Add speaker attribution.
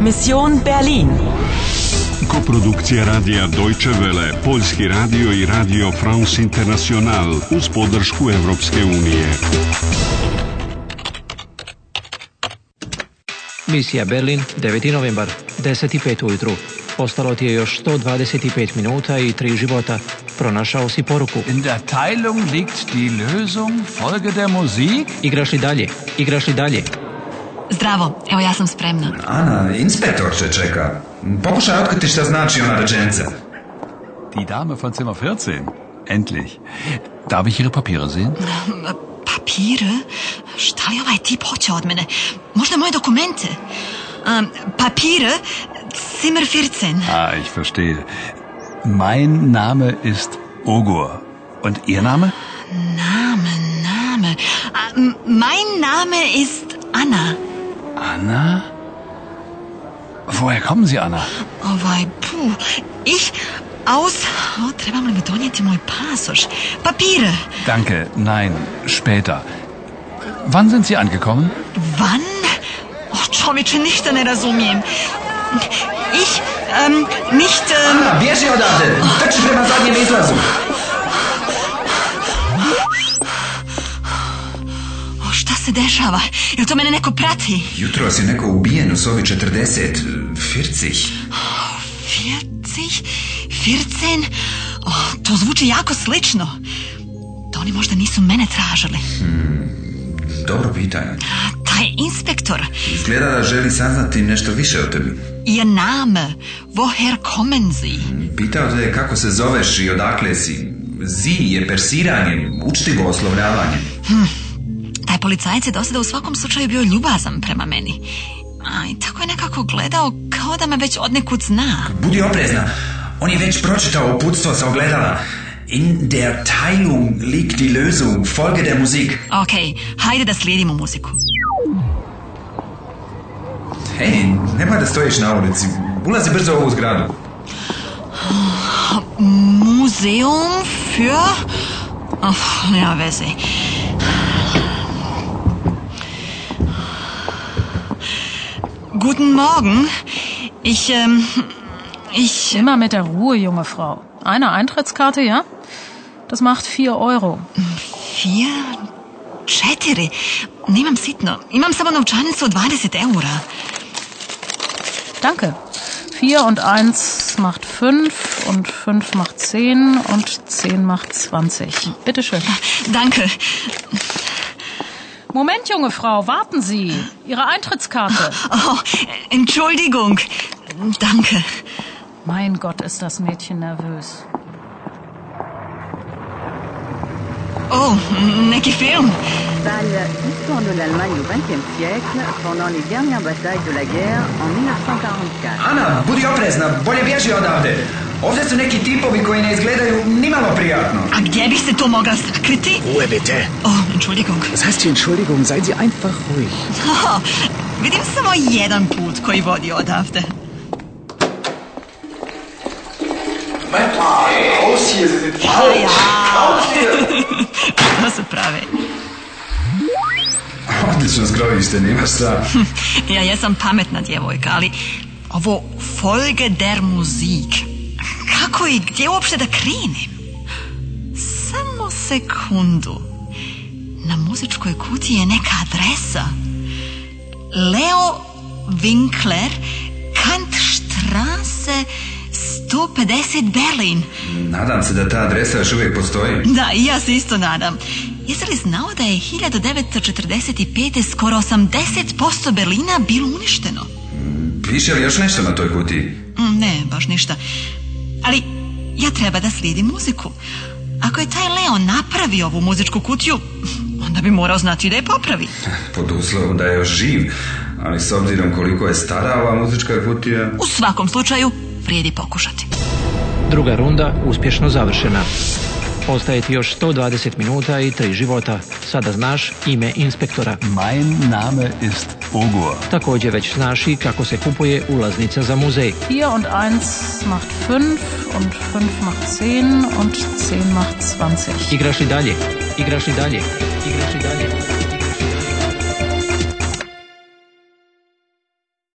Speaker 1: Mission Berlin.
Speaker 2: Koprodukcija radija Deutsche Welle, Poljski radio i radio France International uz podršku Europske unije.
Speaker 3: Misija Berlin, 9. novembar, 10.05 ujutru. Ostalo ti je još 125 minuta i tri života. Pronašao si poruku.
Speaker 4: In der Teilung liegt die Lösung. Folge der Musik.
Speaker 3: Igraš li dalje? Igraš li dalje?
Speaker 5: Zdravo, evo ja sam spremna.
Speaker 6: Ana, inspektor će čeka. Pokušaj otkriti šta znači ona rečenica.
Speaker 4: Die Dame von Zimmer 14. Endlich. Darf ich Ihre Papiere sehen?
Speaker 5: Papire? Šta li ovaj tip hoće od mene? Možda moje dokumente? Um, papire? Zimmer 14.
Speaker 4: Ah, ich verstehe. Mein Name ist Ogur. Und Ihr Name?
Speaker 5: Name, Name. A, m- mein Name ist Anna.
Speaker 4: Anna? Woher kommen Sie, Anna?
Speaker 5: Ovaj, puh, ich aus... O, trebam li mi donijeti moj pasoš? Papire.
Speaker 4: Danke, nein, später. Wann sind Sie angekommen?
Speaker 5: Wann? O, čovječe, ništa ne razumijem. Ich, um, nicht... Um,
Speaker 6: Ana, bježi odavde! Trči prema zadnjem izlazu!
Speaker 5: o, šta se dešava? Jel to mene neko prati?
Speaker 6: Jutro si neko ubijen u sobi 40, 40.
Speaker 5: 40? 14? O, to zvuči jako slično. Da oni možda nisu mene tražili. Pa
Speaker 6: Dobro pitanje.
Speaker 5: Taj inspektor
Speaker 6: Izgleda da želi saznati nešto više o tebi.
Speaker 5: je name. Woher kommen Sie?
Speaker 6: Pitao te je kako se zoveš i odakle si. Zi je persiranje, učtivo oslovljavanje.
Speaker 5: Taj policajac je do sada u svakom slučaju bio ljubazan prema meni. A i tako je nekako gledao kao da me već odnekud zna.
Speaker 6: Budi oprezna, on je već pročitao uputstvo sa ogledala. In der Teilung liegt die Lösung, folge der Musik.
Speaker 5: Ok, hajde da slijedimo muziku.
Speaker 6: Hej, nemoj da stojiš na ulici, ulazi brzo u ovu zgradu.
Speaker 5: Museum für... Oh, nema veze. Guten Morgen. Ich, ähm, ich,
Speaker 7: Immer mit der Ruhe, junge Frau. Eine Eintrittskarte, ja? Das macht 4 Euro.
Speaker 5: vier, četiri. Nemam sitno. Imam samo novčanicu od 20 eura.
Speaker 7: Danke. 4 und 1 macht 5 und 5 macht 10 und 10 macht 20. Bitteschön.
Speaker 5: Danke.
Speaker 7: Moment, junge Frau, warten Sie. Ihre Eintrittskarte.
Speaker 5: Oh, Entschuldigung. Danke.
Speaker 7: Mein Gott, ist das Mädchen nervös.
Speaker 5: Oh, neki film.
Speaker 8: Salle Histoire de l'Allemagne au XXe siècle pendant les dernières batailles de la guerre en 1944.
Speaker 6: Ana, budi oprezna, bolje bježi odavde. Ovdje su neki tipovi koji ne izgledaju nimalo prijatno.
Speaker 5: A gdje bih se tu mogla sakriti?
Speaker 9: Ruhe bitte.
Speaker 5: Oh, Entschuldigung.
Speaker 9: Was heißt hier Entschuldigung? Seien Sie einfach ruhig.
Speaker 5: Oh, vidim samo jedan put koji vodi odavde. Raus hier, To su prave.
Speaker 6: Odlično skrovište, nema šta.
Speaker 5: Ja jesam pametna djevojka, ali ovo Folge der Musik. Kako i gdje uopšte da krenem? Samo sekundu. Na muzičkoj kutiji je neka adresa. Leo Winkler, Kantstrasse 150 Berlin.
Speaker 6: Nadam se da ta adresa još uvijek postoji.
Speaker 5: Da, i ja se isto nadam. Jesi li znao da je 1945. skoro 80% Berlina bilo uništeno?
Speaker 6: Piše li još nešto na toj kutiji?
Speaker 5: Mm, Ne, baš ništa. Ali ja treba da slijedim muziku. Ako je taj Leo napravio ovu muzičku kutiju, onda bi morao znati da je popravi.
Speaker 6: Pod uslovom da je još živ, ali s obzirom koliko je stara ova muzička kutija...
Speaker 5: U svakom slučaju, vrijedi pokušati.
Speaker 3: Druga runda uspješno završena. Ostaje ti još 120 minuta i tri života. Sada znaš ime inspektora.
Speaker 4: Mein Name ist Ogur.
Speaker 3: Također već znaš i kako se kupuje ulaznica za muzej.
Speaker 7: 4 und 1 macht 5 und 5 macht 10 und 10 macht 20.
Speaker 3: Igraš li dalje? Igraš li dalje? Igraš li dalje?